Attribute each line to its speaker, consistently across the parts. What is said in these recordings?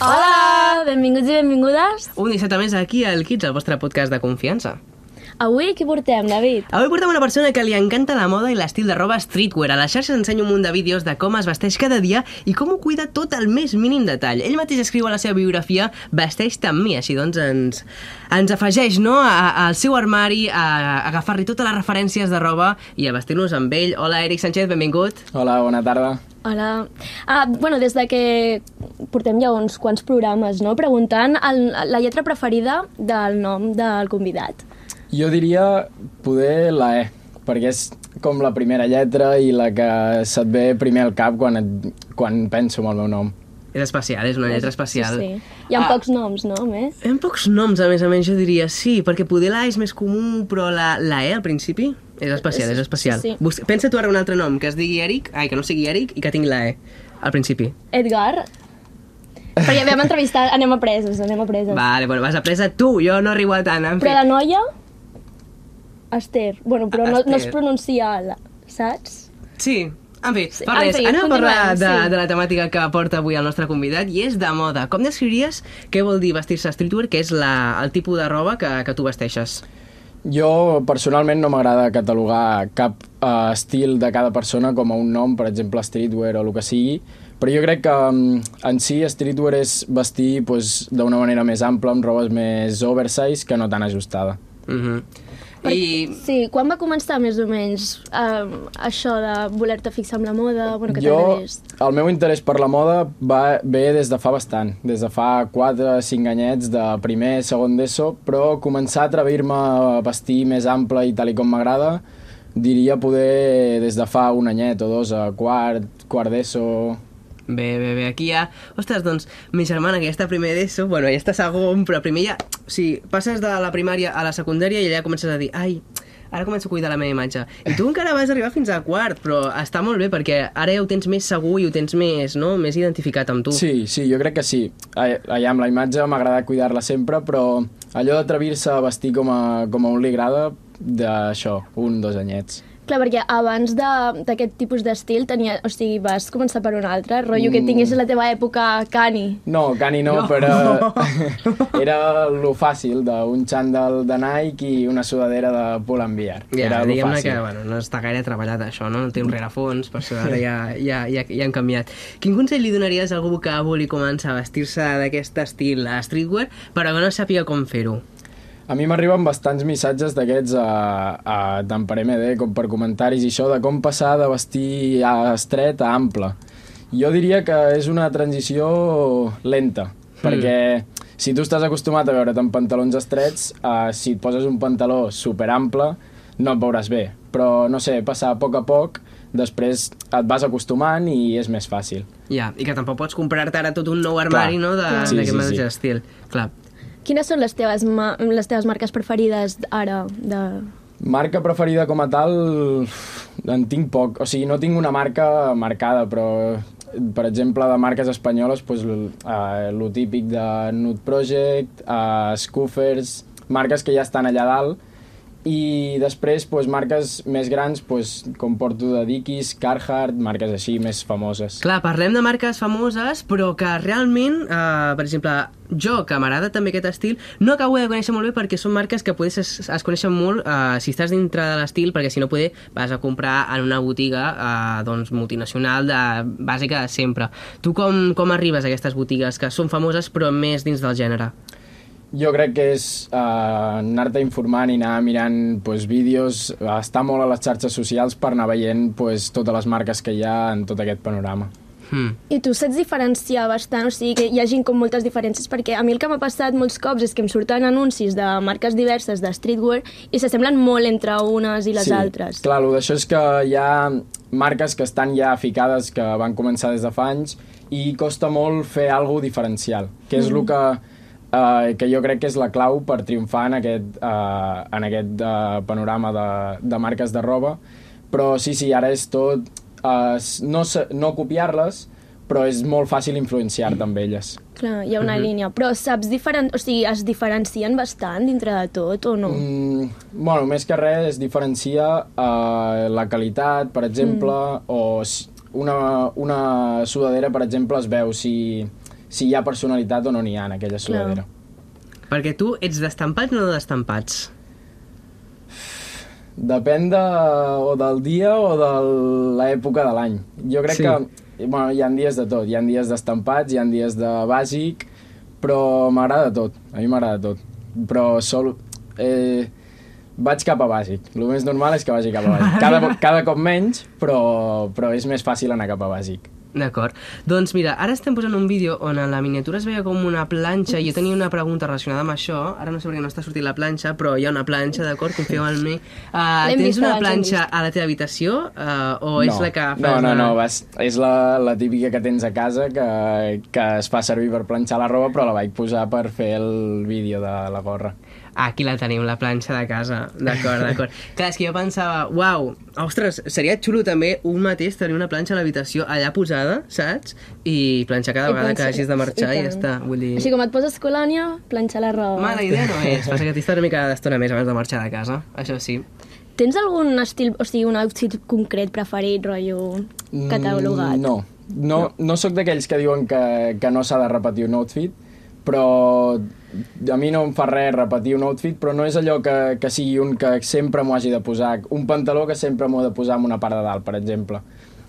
Speaker 1: Hola! Benvinguts i benvingudes.
Speaker 2: Un dissabte més aquí al Kids, el vostre podcast de confiança.
Speaker 1: Avui què portem, David?
Speaker 2: Avui portem una persona que li encanta la moda i l'estil de roba streetwear. A les xarxes ensenya un munt de vídeos de com es vesteix cada dia i com ho cuida tot al més mínim detall. Ell mateix escriu a la seva biografia Vesteix amb mi, així doncs ens, ens afegeix no, a, al seu armari a, a agafar-li totes les referències de roba i a vestir-nos amb ell. Hola, Eric Sánchez, benvingut.
Speaker 3: Hola, bona tarda.
Speaker 1: Hola. Ah, bueno, des de que portem ja uns quants programes, no?, preguntant el, la lletra preferida del nom del convidat.
Speaker 3: Jo diria poder la E, perquè és com la primera lletra i la que se't ve primer al cap quan, et, quan penso en el meu nom.
Speaker 2: És especial, és una lletra especial.
Speaker 1: Sí, sí. Hi ha ah. pocs noms, no, a més?
Speaker 2: Hi ha pocs noms, a més a més, jo diria sí, perquè poder la A és més comú, però la, la E al principi és especial, és especial.
Speaker 1: Sí.
Speaker 2: Bus Pensa tu ara un altre nom, que es digui Eric, ai, que no sigui Eric i que tingui la E al principi.
Speaker 1: Edgar? Però ja vam entrevistar, anem a preses, anem a preses.
Speaker 2: Vale, bueno, vas a presa tu, jo no arribo a tant, en fi.
Speaker 1: Però la noia? Esther. Bueno, però no, no es
Speaker 2: Esther.
Speaker 1: pronuncia la, saps?
Speaker 2: Sí, en fi,
Speaker 1: Sí,
Speaker 2: per
Speaker 1: en
Speaker 2: res,
Speaker 1: fi,
Speaker 2: anem a parlar
Speaker 1: continuem,
Speaker 2: de,
Speaker 1: sí.
Speaker 2: de la temàtica que porta avui el nostre convidat i és de moda. Com descriuries què vol dir vestir-se streetwear, que és la, el tipus de roba que, que tu vesteixes?
Speaker 3: Jo personalment no m'agrada catalogar cap eh, estil de cada persona com a un nom, per exemple streetwear o el que sigui, però jo crec que mm, en si streetwear és vestir pues, d'una manera més ampla, amb robes més oversize que no tan ajustada.
Speaker 2: Mhm. I
Speaker 1: Sí, quan va començar més o menys um, això de voler-te fixar amb la moda? Bueno, que
Speaker 3: jo,
Speaker 1: t'agradés?
Speaker 3: el meu interès per la moda va ve des de fa bastant, des de fa 4 5 anyets de primer, segon d'ESO, però començar a atrevir-me a vestir més ample i tal i com m'agrada, diria poder des de fa un anyet o dos a quart, quart d'ESO...
Speaker 2: Bé, bé, bé, aquí hi ha... Ostres, doncs, mi germana, que ja està primer d'ESO, bueno, ja està segon, però primer ja... O sigui, passes de la primària a la secundària i allà comences a dir, ai, ara començo a cuidar la meva imatge. I tu encara vas arribar fins a quart, però està molt bé, perquè ara ja ho tens més segur i ho tens més, no?, més identificat amb tu.
Speaker 3: Sí, sí, jo crec que sí. Ai- Allà amb la imatge m'agrada cuidar-la sempre, però allò d'atrevir-se a vestir com a, com a un li agrada, d'això, un, dos anyets.
Speaker 1: Clar, perquè abans de- d'aquest tipus d'estil tenia... O sigui, vas començar per un altre, rotllo mm. que tinguis la teva època cani.
Speaker 3: No, cani no,
Speaker 2: No.
Speaker 3: no. però era lo fàcil d'un xandall de Nike i una sudadera de Pull&Bear.
Speaker 2: Ja,
Speaker 3: era lo
Speaker 2: diguem-ne
Speaker 3: fàcil. Mm.
Speaker 2: que bueno, no està gaire treballat això, no? No té un rerefons, per això ara ja, ja, ja, ja han canviat. Quin consell li donaries a algú que vulgui començar a vestir-se d'aquest estil a streetwear, però que no sàpiga com fer-ho?
Speaker 3: A mi m'arriben bastants missatges d'aquests a, a, tant per MD com per comentaris i això de com passar de vestir a estret a ample. Jo diria que és una transició lenta, perquè si tu estàs acostumat a veure't en pantalons estrets, eh, si et poses un pantaló superample, no et veuràs bé. Però, no sé, passar a poc a poc, després et vas acostumant i és més fàcil.
Speaker 2: Ja, i que tampoc pots comprar-te ara tot un nou armari,
Speaker 3: Clar.
Speaker 2: no?, de-
Speaker 3: Sí,
Speaker 2: d'aquest
Speaker 3: sí,
Speaker 2: mateix
Speaker 3: sí.
Speaker 2: estil. Clar.
Speaker 1: Quines són les teves, ma les teves marques preferides ara? De...
Speaker 3: Marca preferida com a tal, en tinc poc. O sigui, no tinc una marca marcada, però, per exemple, de marques espanyoles, doncs, l- eh, lo típic de Nude Project, eh, Scoofers, marques que ja estan allà dalt, i després doncs, marques més grans, doncs, com porto de Dickies, Carhartt, marques així més famoses.
Speaker 2: Clar, parlem de marques famoses, però que realment, eh, per exemple, jo, que m'agrada també aquest estil, no acabo de conèixer molt bé perquè són marques que poder es, es coneixen molt eh, si estàs dintre de l'estil, perquè si no poder vas a comprar en una botiga eh, doncs, multinacional de, bàsica de sempre. Tu com, com arribes a aquestes botigues que són famoses però més dins del gènere?
Speaker 3: Jo crec que és eh, anar-te informant i anar mirant pues, vídeos, estar molt a les xarxes socials per anar veient pues, totes les marques que hi ha en tot aquest panorama.
Speaker 2: Hmm.
Speaker 1: I tu saps diferenciar bastant, o sigui que hi hagin com moltes diferències, perquè a mi el que m'ha passat molts cops és que em surten anuncis de marques diverses de streetwear i s'assemblen molt entre unes i les altres.
Speaker 3: Clar, el d'això és que hi ha marques que estan ja ficades, que van començar des de fa anys, i costa molt fer alguna diferencial, que és
Speaker 1: Mm.
Speaker 3: el que, eh, que jo crec que és la clau per triomfar en aquest, eh, en aquest eh, panorama de, de marques de roba. Però sí, sí, ara és tot... Eh, s- no se- no copiar-les, però és molt fàcil influenciar-te amb elles.
Speaker 1: Clar, hi ha
Speaker 3: Mhm.
Speaker 1: una línia. Però saps diferen... O sigui, es diferencien bastant dintre de tot o no?
Speaker 3: Mm, bueno, més que res es diferencia eh, la qualitat, per exemple, mm. o s- una, una sudadera, per exemple, es veu si, si hi ha personalitat o no n'hi ha en aquella
Speaker 1: Clar.
Speaker 3: sudadera.
Speaker 2: Perquè tu ets d'estampats o no d'estampats?
Speaker 3: Depèn de, o del dia o de l'època de l'any. Jo crec
Speaker 2: Sí.
Speaker 3: sí. que bueno, hi ha dies de tot. Hi ha dies d'estampats, hi ha dies de bàsic, però m'agrada tot. A mi m'agrada tot. Però sol... Eh, vaig cap a bàsic. El més normal és que vagi cap a bàsic. Cada, vo- cada cop menys, però, però és més fàcil anar cap a bàsic.
Speaker 2: D'acord. Doncs mira, ara estem posant un vídeo on a la miniatura es veia com una planxa i jo tenia una pregunta relacionada amb això. Ara no sé per què no està sortint la planxa, però hi ha una planxa, d'acord? Confieu en mi. Uh,
Speaker 1: L'hem
Speaker 2: tens
Speaker 1: vist
Speaker 2: una
Speaker 1: abans, l'hem
Speaker 2: planxa a la teva habitació uh, o és la que fas?
Speaker 3: No, no,
Speaker 2: de-
Speaker 3: no, vas, és la, la típica que tens a casa que, que es fa servir per planxar la roba, però la vaig posar per fer el vídeo de la gorra.
Speaker 2: Aquí la tenim, la planxa de casa. D'acord, d'acord. Clar, és que jo pensava, uau, ostres, seria xulo també un mateix tenir una planxa a l'habitació allà posada, saps? I planxar
Speaker 1: I
Speaker 2: cada vegada Ah, que
Speaker 1: planxar.
Speaker 2: hagis de marxar
Speaker 1: I
Speaker 2: i, ja
Speaker 1: tant.
Speaker 2: està. Vull dir...
Speaker 1: Així com et poses colònia, planxar la roba.
Speaker 2: Mala idea no és, passa que t'hi estàs una mica d'estona més abans de marxar de casa, això sí.
Speaker 1: Tens algun estil, o sigui, un outfit concret preferit, rotllo catalogat?
Speaker 3: Mm, No, no, no. no sóc d'aquells que diuen que, que no s'ha de repetir un outfit, però a mi no em fa res repetir un outfit, però no és allò que, que sigui un que sempre m'ho hagi de posar, un pantaló que sempre m'ho he de posar en una part de dalt, per exemple.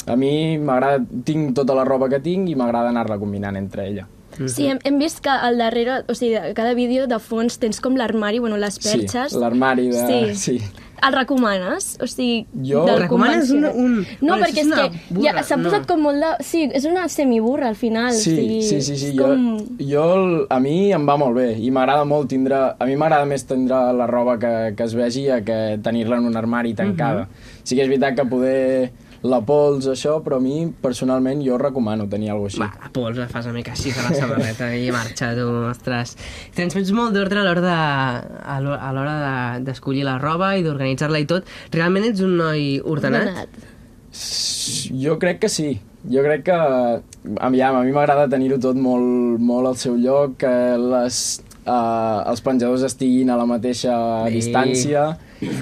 Speaker 3: A mi m'agrada, tinc tota la roba que tinc i m'agrada anar-la combinant entre ella.
Speaker 1: Sí, hem, hem vist que al darrere, o sigui, de cada vídeo de fons tens com l'armari, bueno, les perxes.
Speaker 3: Sí, l'armari de...
Speaker 1: Sí.
Speaker 3: sí.
Speaker 1: El recomanes? O sigui,
Speaker 3: Jo-
Speaker 1: del
Speaker 2: Recomanes un-
Speaker 1: convencional.
Speaker 2: un-
Speaker 1: No,
Speaker 2: bueno,
Speaker 1: perquè és,
Speaker 2: això és una
Speaker 1: que ja
Speaker 2: burra,
Speaker 1: s'ha
Speaker 2: no.
Speaker 1: posat com molt de... Sí, és una semiburra al final. o
Speaker 3: Sí,
Speaker 1: sigui,
Speaker 3: sí, sí, sí.
Speaker 1: és
Speaker 3: Jo,
Speaker 1: Com...
Speaker 3: jo, el- a mi em va molt bé i m'agrada molt tindre... A mi m'agrada més tindre la roba que, que es vegi a que tenir-la en un armari tancada. Sí que és veritat que poder la pols, això, però a mi, personalment, jo recomano tenir
Speaker 2: Va,
Speaker 3: alguna cosa així.
Speaker 2: la pols la fas una mica així de la samarreta i marxa, tu, ostres. Transmets molt d'ordre a l'hora de- a l'ho- a l'hora de- d'escollir de, la roba i d'organitzar-la i tot. Realment ets un noi ordenat?
Speaker 3: S- Jo crec que sí. Jo crec que... Aviam, a mi m'agrada tenir-ho tot molt, molt al seu lloc, que les, eh, els penjadors estiguin a la mateixa
Speaker 2: Bé.
Speaker 3: distància,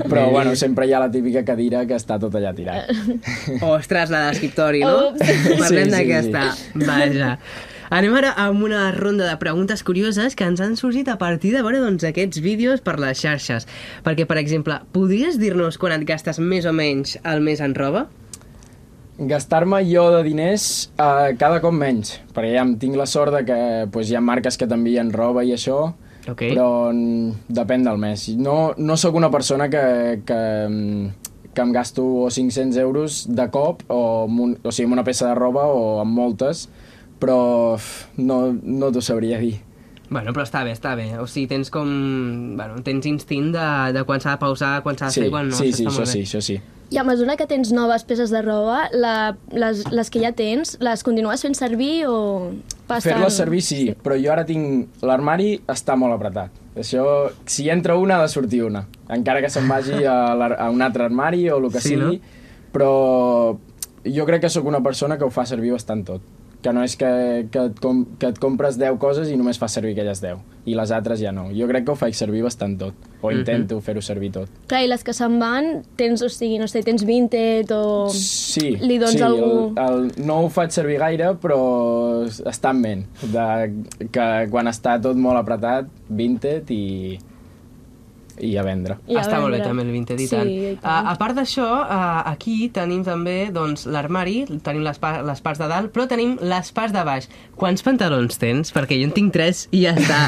Speaker 3: però
Speaker 2: Bé.
Speaker 3: bueno, sempre hi ha la típica cadira que està tot allà tirat.
Speaker 2: Ostres, la d'escriptori, no?
Speaker 1: Ups.
Speaker 2: Parlem
Speaker 3: Sí, sí,
Speaker 2: d'aquesta. Vaja. Anem ara amb una ronda de preguntes curioses que ens han sorgit a partir de veure doncs, aquests vídeos per les xarxes. Perquè, per exemple, podries dir-nos quan et gastes més o menys al mes en roba?
Speaker 3: gastar-me jo de diners eh, cada cop menys, perquè ja em tinc la sort de que pues, hi ha marques que t'envien roba i això,
Speaker 2: Ok.
Speaker 3: però mm, depèn del mes. No, no sóc una persona que, que, mm, que em gasto o 500 euros de cop, o, amb un, o sigui, amb una peça de roba o amb moltes, però f, no, no t'ho sabria dir.
Speaker 2: Bueno, però està bé, està bé. O sigui, tens com... Bueno, tens instint de, de quan s'ha de pausar, quan s'ha de fer, i quan no.
Speaker 3: sí, sí,
Speaker 2: està
Speaker 3: això
Speaker 2: molt bé.
Speaker 3: sí, això sí.
Speaker 1: I a mesura que tens noves peces de roba, la, les, les que ja tens, les continues fent servir o passen...
Speaker 3: Fer-les servir sí, però jo ara tinc... L'armari està molt apretat. Això, si hi entra una, ha de sortir una. Encara que se'n vagi a, l'ar- a un altre armari o el que
Speaker 2: Sí,
Speaker 3: sí, sigui. No? Però jo crec que sóc una persona que ho fa servir bastant tot. Que no és que, que, et com, que et compres 10 coses i només fas servir aquelles 10. I les altres ja no. Jo crec que ho faig servir bastant tot. O intento fer-ho servir tot.
Speaker 1: Clar, i les que se'n van, tens, o sigui, no sé, tens Vinted o...
Speaker 3: Sí,
Speaker 1: Li dones
Speaker 3: sí
Speaker 1: algú-
Speaker 3: el, el, no ho faig servir gaire, però està en ment, de, que quan està tot molt apretat, vinted i, i a vendre.
Speaker 1: I a
Speaker 2: Està molt bé
Speaker 1: vendre.
Speaker 2: també el vintage i
Speaker 1: Sí,
Speaker 2: tant. Ah,
Speaker 1: i tant.
Speaker 2: A, a part d'això, a- aquí tenim també doncs, l'armari, tenim les, pa les parts de dalt, però tenim les parts de baix. Quants pantalons tens? Perquè jo en tinc tres i ja està.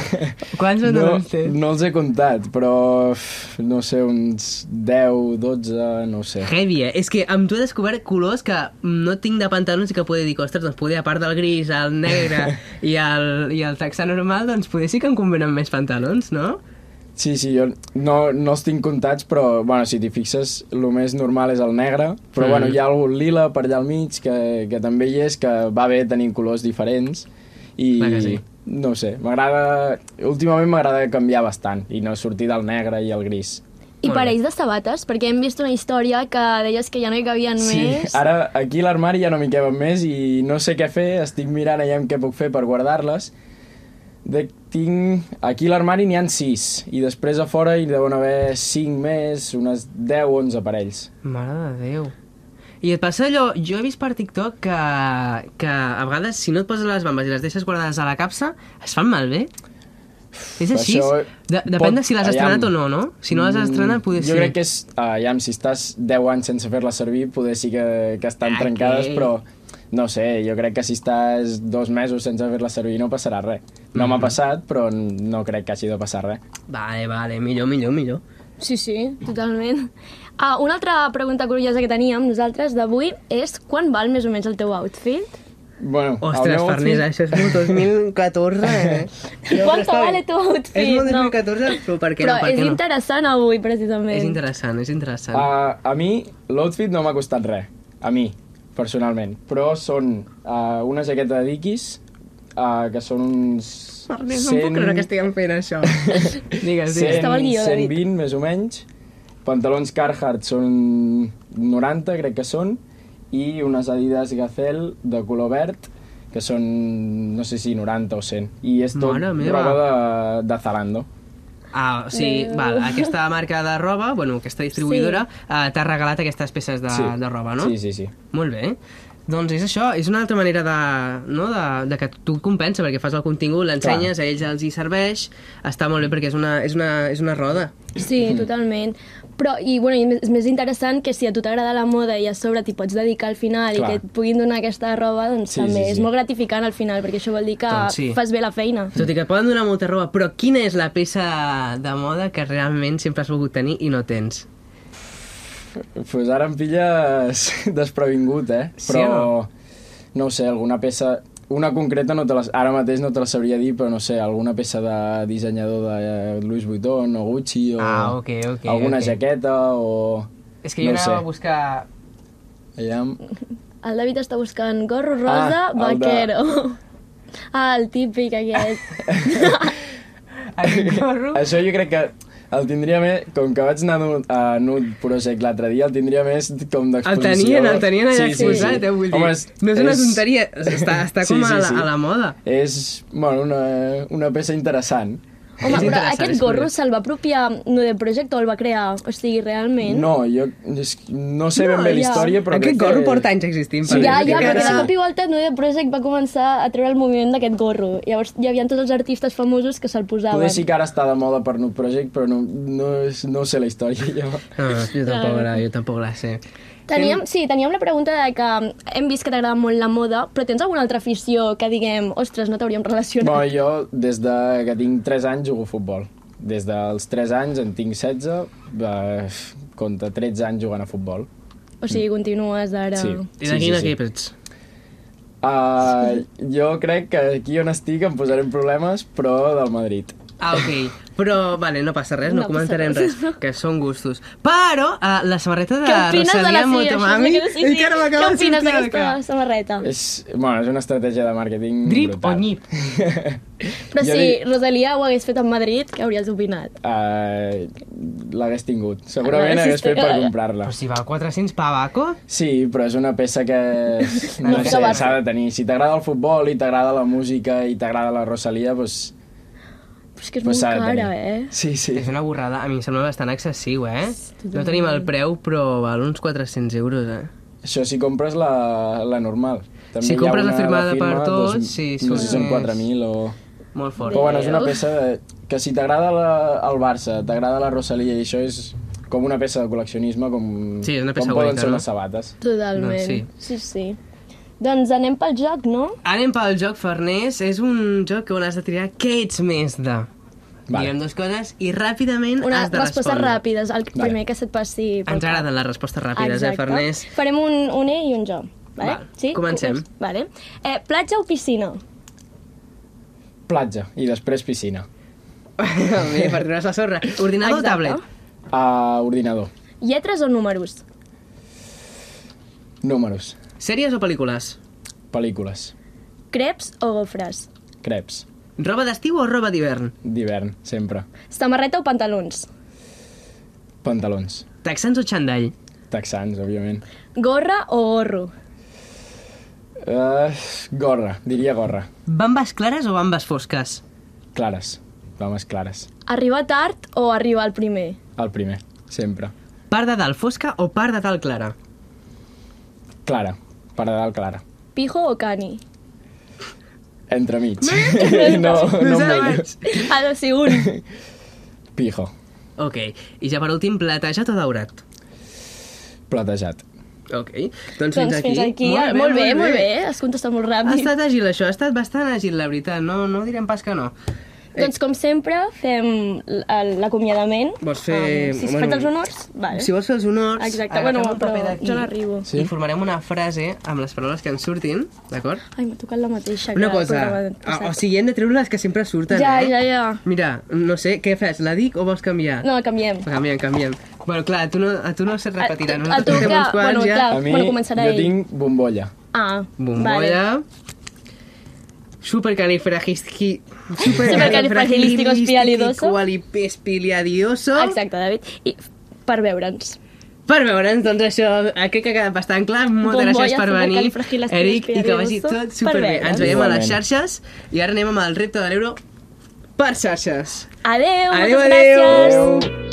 Speaker 2: Quants
Speaker 3: No,
Speaker 2: pantalons tens?
Speaker 3: no els he comptat, però uf, no sé, uns 10, 12, no ho sé.
Speaker 2: Heavy, eh? És que amb tu he descobert colors que no tinc de pantalons i que poder dir, ostres, doncs poder, a part del gris, el negre i el, i el texà normal, doncs poder sí que em convenen més pantalons, no?
Speaker 3: Sí, sí, jo no, no els tinc comptats, però, bueno, si t'hi fixes, el més normal és el negre,
Speaker 2: Mm.
Speaker 3: però, mm. bueno, hi ha algun lila per allà al mig que, que també hi és, que va bé tenir colors diferents i...
Speaker 2: Clar que sí.
Speaker 3: No ho sé, m'agrada... Últimament m'agrada canviar bastant i no sortir del negre i el gris.
Speaker 1: I
Speaker 2: Molt bé.
Speaker 1: parells de sabates, perquè hem vist una història que deies que ja no hi cabien més.
Speaker 3: Ara aquí a l'armari ja no m'hi queben més i no sé què fer, estic mirant allà què puc fer per guardar-les. De, tinc... Aquí a l'armari n'hi han 6 i després a fora hi deuen haver 5 més, unes 10 o 11 parells.
Speaker 2: Mare de Déu. I et passa allò, jo he vist per TikTok que, que a vegades si no et poses les bambes i les deixes guardades a la capsa, es fan malbé. És
Speaker 3: Per
Speaker 2: així?
Speaker 3: això eh,
Speaker 2: De, depèn
Speaker 3: pot-
Speaker 2: de si l'has estrenat o
Speaker 3: aviam.
Speaker 2: no, no? Si no l'has estrenat,
Speaker 3: Mm,
Speaker 2: poder
Speaker 3: Jo
Speaker 2: sí.
Speaker 3: crec que és, ah, aviam, si estàs 10 anys sense fer-la servir, poder sí que, que estan
Speaker 2: Ah,
Speaker 3: trencades,
Speaker 2: què?
Speaker 3: però no sé, jo crec que si estàs dos mesos sense fer-la servir no passarà res. No
Speaker 2: Mm.
Speaker 3: m'ha passat, però no crec que hagi de passar res.
Speaker 2: Vale, vale, millor, millor, millor.
Speaker 1: Sí, sí, totalment. Ah, una altra pregunta curiosa que teníem nosaltres d'avui és quan val més o menys el teu outfit?
Speaker 3: Bueno, el
Speaker 2: Ostres,
Speaker 3: meu
Speaker 2: Farners,
Speaker 3: outfit-
Speaker 2: això és molt 2014, eh?
Speaker 1: I
Speaker 2: No, però
Speaker 1: quanto
Speaker 2: està bé.
Speaker 1: vale tu outfit,
Speaker 2: És molt
Speaker 1: no?
Speaker 2: 2014, però per què
Speaker 1: Però
Speaker 2: no? Per
Speaker 1: és
Speaker 2: què no?
Speaker 1: interessant avui, precisament.
Speaker 2: És interessant, és interessant.
Speaker 3: A, a mi l'outfit no m'ha costat res, a mi, personalment. Però són uh, una jaqueta de Dickies, uh, que són uns...
Speaker 2: Ernest, no em puc creure que estiguem fent això. digues, digues.
Speaker 3: 100,
Speaker 1: Estava al guió, David.
Speaker 3: 120, més o menys. Pantalons Carhartt són 90, crec que són, i unes Adidas Gazelle de color verd, que són, no sé si 90 o 100. I és tot
Speaker 2: Mare meva.
Speaker 3: roba de, de Zalando.
Speaker 2: Ah, o sigui,
Speaker 1: Déu.
Speaker 2: val, aquesta marca de roba, bueno, aquesta distribuïdora, sí. eh, t'ha regalat aquestes peces de, sí. de roba, no?
Speaker 3: Sí, sí, sí.
Speaker 2: Molt bé. Doncs és això, és una altra manera de, no? de, de que tu et compensa, perquè fas el contingut, l'ensenyes, a ells els hi serveix, està molt bé perquè és una, és una, és una roda.
Speaker 1: Sí,
Speaker 3: Mm.
Speaker 1: totalment. Però, i, bueno, i més- és més interessant que si a tu t'agrada la moda i a sobre t'hi pots dedicar al final
Speaker 3: Clar.
Speaker 1: i que et puguin donar aquesta roba, doncs
Speaker 3: Sí,
Speaker 1: també
Speaker 3: sí,
Speaker 1: és
Speaker 3: sí.
Speaker 1: molt gratificant al final, perquè això vol dir que
Speaker 2: Doncs sí.
Speaker 1: fas bé la feina.
Speaker 2: Tot i que et poden donar molta roba, però quina és la peça de moda que realment sempre has volgut tenir i no tens?
Speaker 3: Pues ara em pilles desprevingut, eh?
Speaker 2: Sí
Speaker 3: Però,
Speaker 2: o no?
Speaker 3: no ho sé, alguna peça... Una concreta, no te les, ara mateix no te la sabria dir, però no sé, alguna peça de dissenyador de eh, Louis Vuitton o Gucci o
Speaker 2: Ah, ok, ok,
Speaker 3: alguna
Speaker 2: ok.
Speaker 3: jaqueta o...
Speaker 2: És que jo
Speaker 3: no ho
Speaker 2: anava a
Speaker 3: sé.
Speaker 2: buscar
Speaker 3: Aviam.
Speaker 1: El David està buscant gorro rosa,
Speaker 3: Ah, el de-
Speaker 1: vaquero. Ah, el típic aquest.
Speaker 2: aquest gorro.
Speaker 3: Això jo crec que el tindria més... Com que vaig anar a Nude- a Nude Project l'altre dia, el tindria més com
Speaker 2: El
Speaker 3: d'exposició.
Speaker 2: tenien, el tenien allà sí, exposat, sí, sí. eh, vull dir.
Speaker 3: Home, és,
Speaker 2: no és una tonteria, està, està
Speaker 3: Sí,
Speaker 2: com a,
Speaker 3: sí,
Speaker 2: la,
Speaker 3: sí.
Speaker 2: a la moda.
Speaker 3: És, bueno, una, una peça interessant.
Speaker 1: Home,
Speaker 2: És
Speaker 1: però
Speaker 2: interessant,
Speaker 1: aquest
Speaker 2: és
Speaker 1: gorro
Speaker 2: curiós.
Speaker 1: se'l va apropiar no de Project o el va crear? O sigui, realment...
Speaker 3: No, jo és, no sé ben
Speaker 1: No,
Speaker 3: bé la
Speaker 1: ja.
Speaker 3: història, però...
Speaker 2: Aquest
Speaker 3: crec que-
Speaker 2: gorro porta anys existint.
Speaker 3: Sí,
Speaker 1: ja,
Speaker 3: jo
Speaker 1: ja,
Speaker 3: crec que
Speaker 1: perquè de
Speaker 3: sí.
Speaker 1: cop i volta No de Project va començar a treure el moviment d'aquest gorro. Llavors hi havia tots els artistes famosos que se'l posaven.
Speaker 3: Poder sí que ara està de moda per Nude Project, però no, no, és, no sé la història. Jo.
Speaker 2: No, no, Ah, jo tampoc la, jo tampoc la sé.
Speaker 1: Teníem, sí, teníem la pregunta de que hem vist que t'agrada molt la moda, però tens alguna altra afició que diguem, ostres, no t'hauríem relacionat?
Speaker 3: Bueno, jo des de que tinc 3 anys jugo a futbol. Des dels 3 anys, en tinc 16, eh, compta 13 anys jugant a futbol.
Speaker 1: O sigui, continues ara...
Speaker 3: Sí.
Speaker 2: I de quin equip ets?
Speaker 3: Uh, jo crec que aquí on estic em posaré en problemes, però del Madrid.
Speaker 2: Ah, ok. Però, vale, no passa res,
Speaker 1: No
Speaker 2: no, no
Speaker 1: passa
Speaker 2: comentarem res.
Speaker 1: res.
Speaker 2: que són gustos. Però, uh, la samarreta de
Speaker 1: Què opines de la
Speaker 2: Rosalia
Speaker 1: CIA?
Speaker 2: Motomami...
Speaker 1: Sí, sí.
Speaker 2: encara
Speaker 1: Què
Speaker 2: m'acaba de
Speaker 1: opines
Speaker 2: sortir al
Speaker 1: d'aquesta
Speaker 2: cap.
Speaker 1: samarreta?
Speaker 3: És, bueno, és una estratègia de màrqueting
Speaker 2: Drip o
Speaker 3: brutal.
Speaker 2: nyip?
Speaker 1: Però
Speaker 3: Jo
Speaker 1: si
Speaker 3: dic-
Speaker 1: Rosalia ho hagués fet a Madrid, què hauries opinat?
Speaker 3: Uh, L'hagués tingut. Segurament
Speaker 1: Ah,
Speaker 3: hagués fet per
Speaker 1: sí.
Speaker 3: comprar-la.
Speaker 2: Però si val 400 pavaco...
Speaker 3: Sí, però és una peça que no
Speaker 1: No
Speaker 3: sé,
Speaker 1: acaba.
Speaker 3: s'ha de tenir. Si t'agrada el futbol i t'agrada la música i t'agrada la Rosalia, doncs
Speaker 1: Però és que és
Speaker 3: pues s'ha
Speaker 1: molt
Speaker 3: de tenir.
Speaker 1: cara, eh?
Speaker 3: Sí, sí.
Speaker 2: És una borrada, a mi em sembla bastant excessiu, eh? No tenim el preu, però val uns 400 euros, eh?
Speaker 3: Això si compres la, la normal. També
Speaker 2: Si
Speaker 3: hi ha
Speaker 2: compres la
Speaker 3: una de
Speaker 2: firmada
Speaker 3: firma,
Speaker 2: per tots,
Speaker 3: doncs,
Speaker 2: sí,
Speaker 3: No sé si són
Speaker 2: són-
Speaker 3: 4.000 o...
Speaker 2: Molt fort.
Speaker 3: Però bueno, és una
Speaker 1: Déu.
Speaker 3: peça de, que si t'agrada la- el Barça, t'agrada la Rosalia i això és com una peça de col·leccionisme, com,
Speaker 2: Sí, és una peça
Speaker 3: com poden
Speaker 2: bonica,
Speaker 3: ser
Speaker 2: no?
Speaker 3: les sabates.
Speaker 1: Totalment.
Speaker 2: Doncs
Speaker 1: sí. sí, sí. Doncs anem pel joc, no?
Speaker 2: Anem pel joc, Farners. És un joc on has de triar què ets més de. Vale. Direm dues coses i ràpidament
Speaker 1: Una
Speaker 2: has de
Speaker 1: resposta
Speaker 2: respondre.
Speaker 1: ràpides, el primer que se't passi... pel
Speaker 2: Ens
Speaker 1: cap.
Speaker 2: agraden les respostes ràpides, eh,
Speaker 1: Exacte.
Speaker 2: Farners?
Speaker 1: Farem un, un E i un jo. Vale?
Speaker 2: Val, comencem.
Speaker 1: Comencem. Vale. Eh, platja o piscina?
Speaker 3: Platja i després piscina.
Speaker 2: Bé, per treure's la sorra. Ordinador o
Speaker 1: Exacte.
Speaker 2: tablet?
Speaker 3: A ordinador.
Speaker 1: Lletres o números?
Speaker 3: Números.
Speaker 2: Sèries o pel·lícules?
Speaker 3: Pel·lícules.
Speaker 1: Creps o gofres?
Speaker 3: Creps.
Speaker 2: Roba d'estiu o roba d'hivern?
Speaker 3: D'hivern, sempre.
Speaker 1: Samarreta o pantalons?
Speaker 3: Pantalons.
Speaker 2: Texans o xandall?
Speaker 3: Texans, òbviament.
Speaker 1: Gorra o gorro?
Speaker 3: Uh, gorra, diria gorra.
Speaker 2: Bambes clares o bambes fosques?
Speaker 3: Clares. Vames clares.
Speaker 1: Arribar tard o arribar al primer?
Speaker 3: El primer, sempre.
Speaker 2: Part de dalt fosca o part de dalt clara?
Speaker 3: Clara, per dalt clara.
Speaker 1: Pijo o cani?
Speaker 3: Entremig. Oh, no, no em veig.
Speaker 1: Ha de ser Ah, un.
Speaker 3: Pijo.
Speaker 2: Ok, i ja per últim, platejat o daurat?
Speaker 3: Platejat.
Speaker 2: Ok, doncs,
Speaker 1: doncs fins aquí. Molt, molt bé, molt bé. Has contestat molt
Speaker 2: Ha
Speaker 1: ràpid.
Speaker 2: estat àgil això, ha estat bastant àgil, la veritat. No, no direm pas que no.
Speaker 1: Doncs com sempre fem l- l'acomiadament.
Speaker 2: Vols fer-
Speaker 1: Amb- si has
Speaker 2: bueno,
Speaker 1: fet els honors, vale.
Speaker 2: Si vols fer els honors...
Speaker 1: Exacte,
Speaker 2: agafem
Speaker 1: bueno,
Speaker 2: un paper
Speaker 1: però
Speaker 2: d'aquí
Speaker 1: jo n'arribo.
Speaker 3: Sí.
Speaker 2: I formarem una frase amb les paraules que ens surtin, d'acord?
Speaker 1: Ai, m'ha tocat la mateixa. que
Speaker 2: Una
Speaker 1: el
Speaker 2: cosa,
Speaker 1: programa
Speaker 2: ah,
Speaker 1: passat.
Speaker 2: o sigui, hem de treure les que sempre surten,
Speaker 1: Ja,
Speaker 2: eh?
Speaker 1: ja, ja.
Speaker 2: Mira, no sé, què fas? La dic o vols canviar?
Speaker 1: No, canviem.
Speaker 2: Canviem, canviem. Bueno, clar, a tu no, a tu no se repetirà.
Speaker 1: A- a
Speaker 2: Nosaltres
Speaker 1: tu
Speaker 2: en fem
Speaker 1: que-
Speaker 2: uns quants
Speaker 1: bueno,
Speaker 2: ja.
Speaker 1: clar.
Speaker 3: A mi,
Speaker 1: Bueno, començarà
Speaker 3: jo
Speaker 1: ell.
Speaker 3: tinc bombolla.
Speaker 1: Ah, vale.
Speaker 2: Bombolla. Supercalifragistqui...
Speaker 1: Supercalifragilisticoespialidoso.
Speaker 2: Supercalifragilisticoespialidoso.
Speaker 1: Exacte, David. I per veure'ns.
Speaker 2: Per veure'ns, doncs això, eh, crec que ha quedat bastant clar. Moltes
Speaker 1: Bombolla,
Speaker 2: gràcies per venir, Eric, i que
Speaker 1: supercalifragilisticoespialidoso.
Speaker 2: vagi tot
Speaker 1: Per
Speaker 2: superbé.
Speaker 1: veure'ns.
Speaker 2: Ens veiem a les
Speaker 3: Igualment.
Speaker 2: xarxes i ara anem amb el repte de l'euro per xarxes.
Speaker 1: Adeu,
Speaker 2: Adéu,
Speaker 1: moltes
Speaker 2: adéu.
Speaker 1: gràcies.
Speaker 3: Adéu.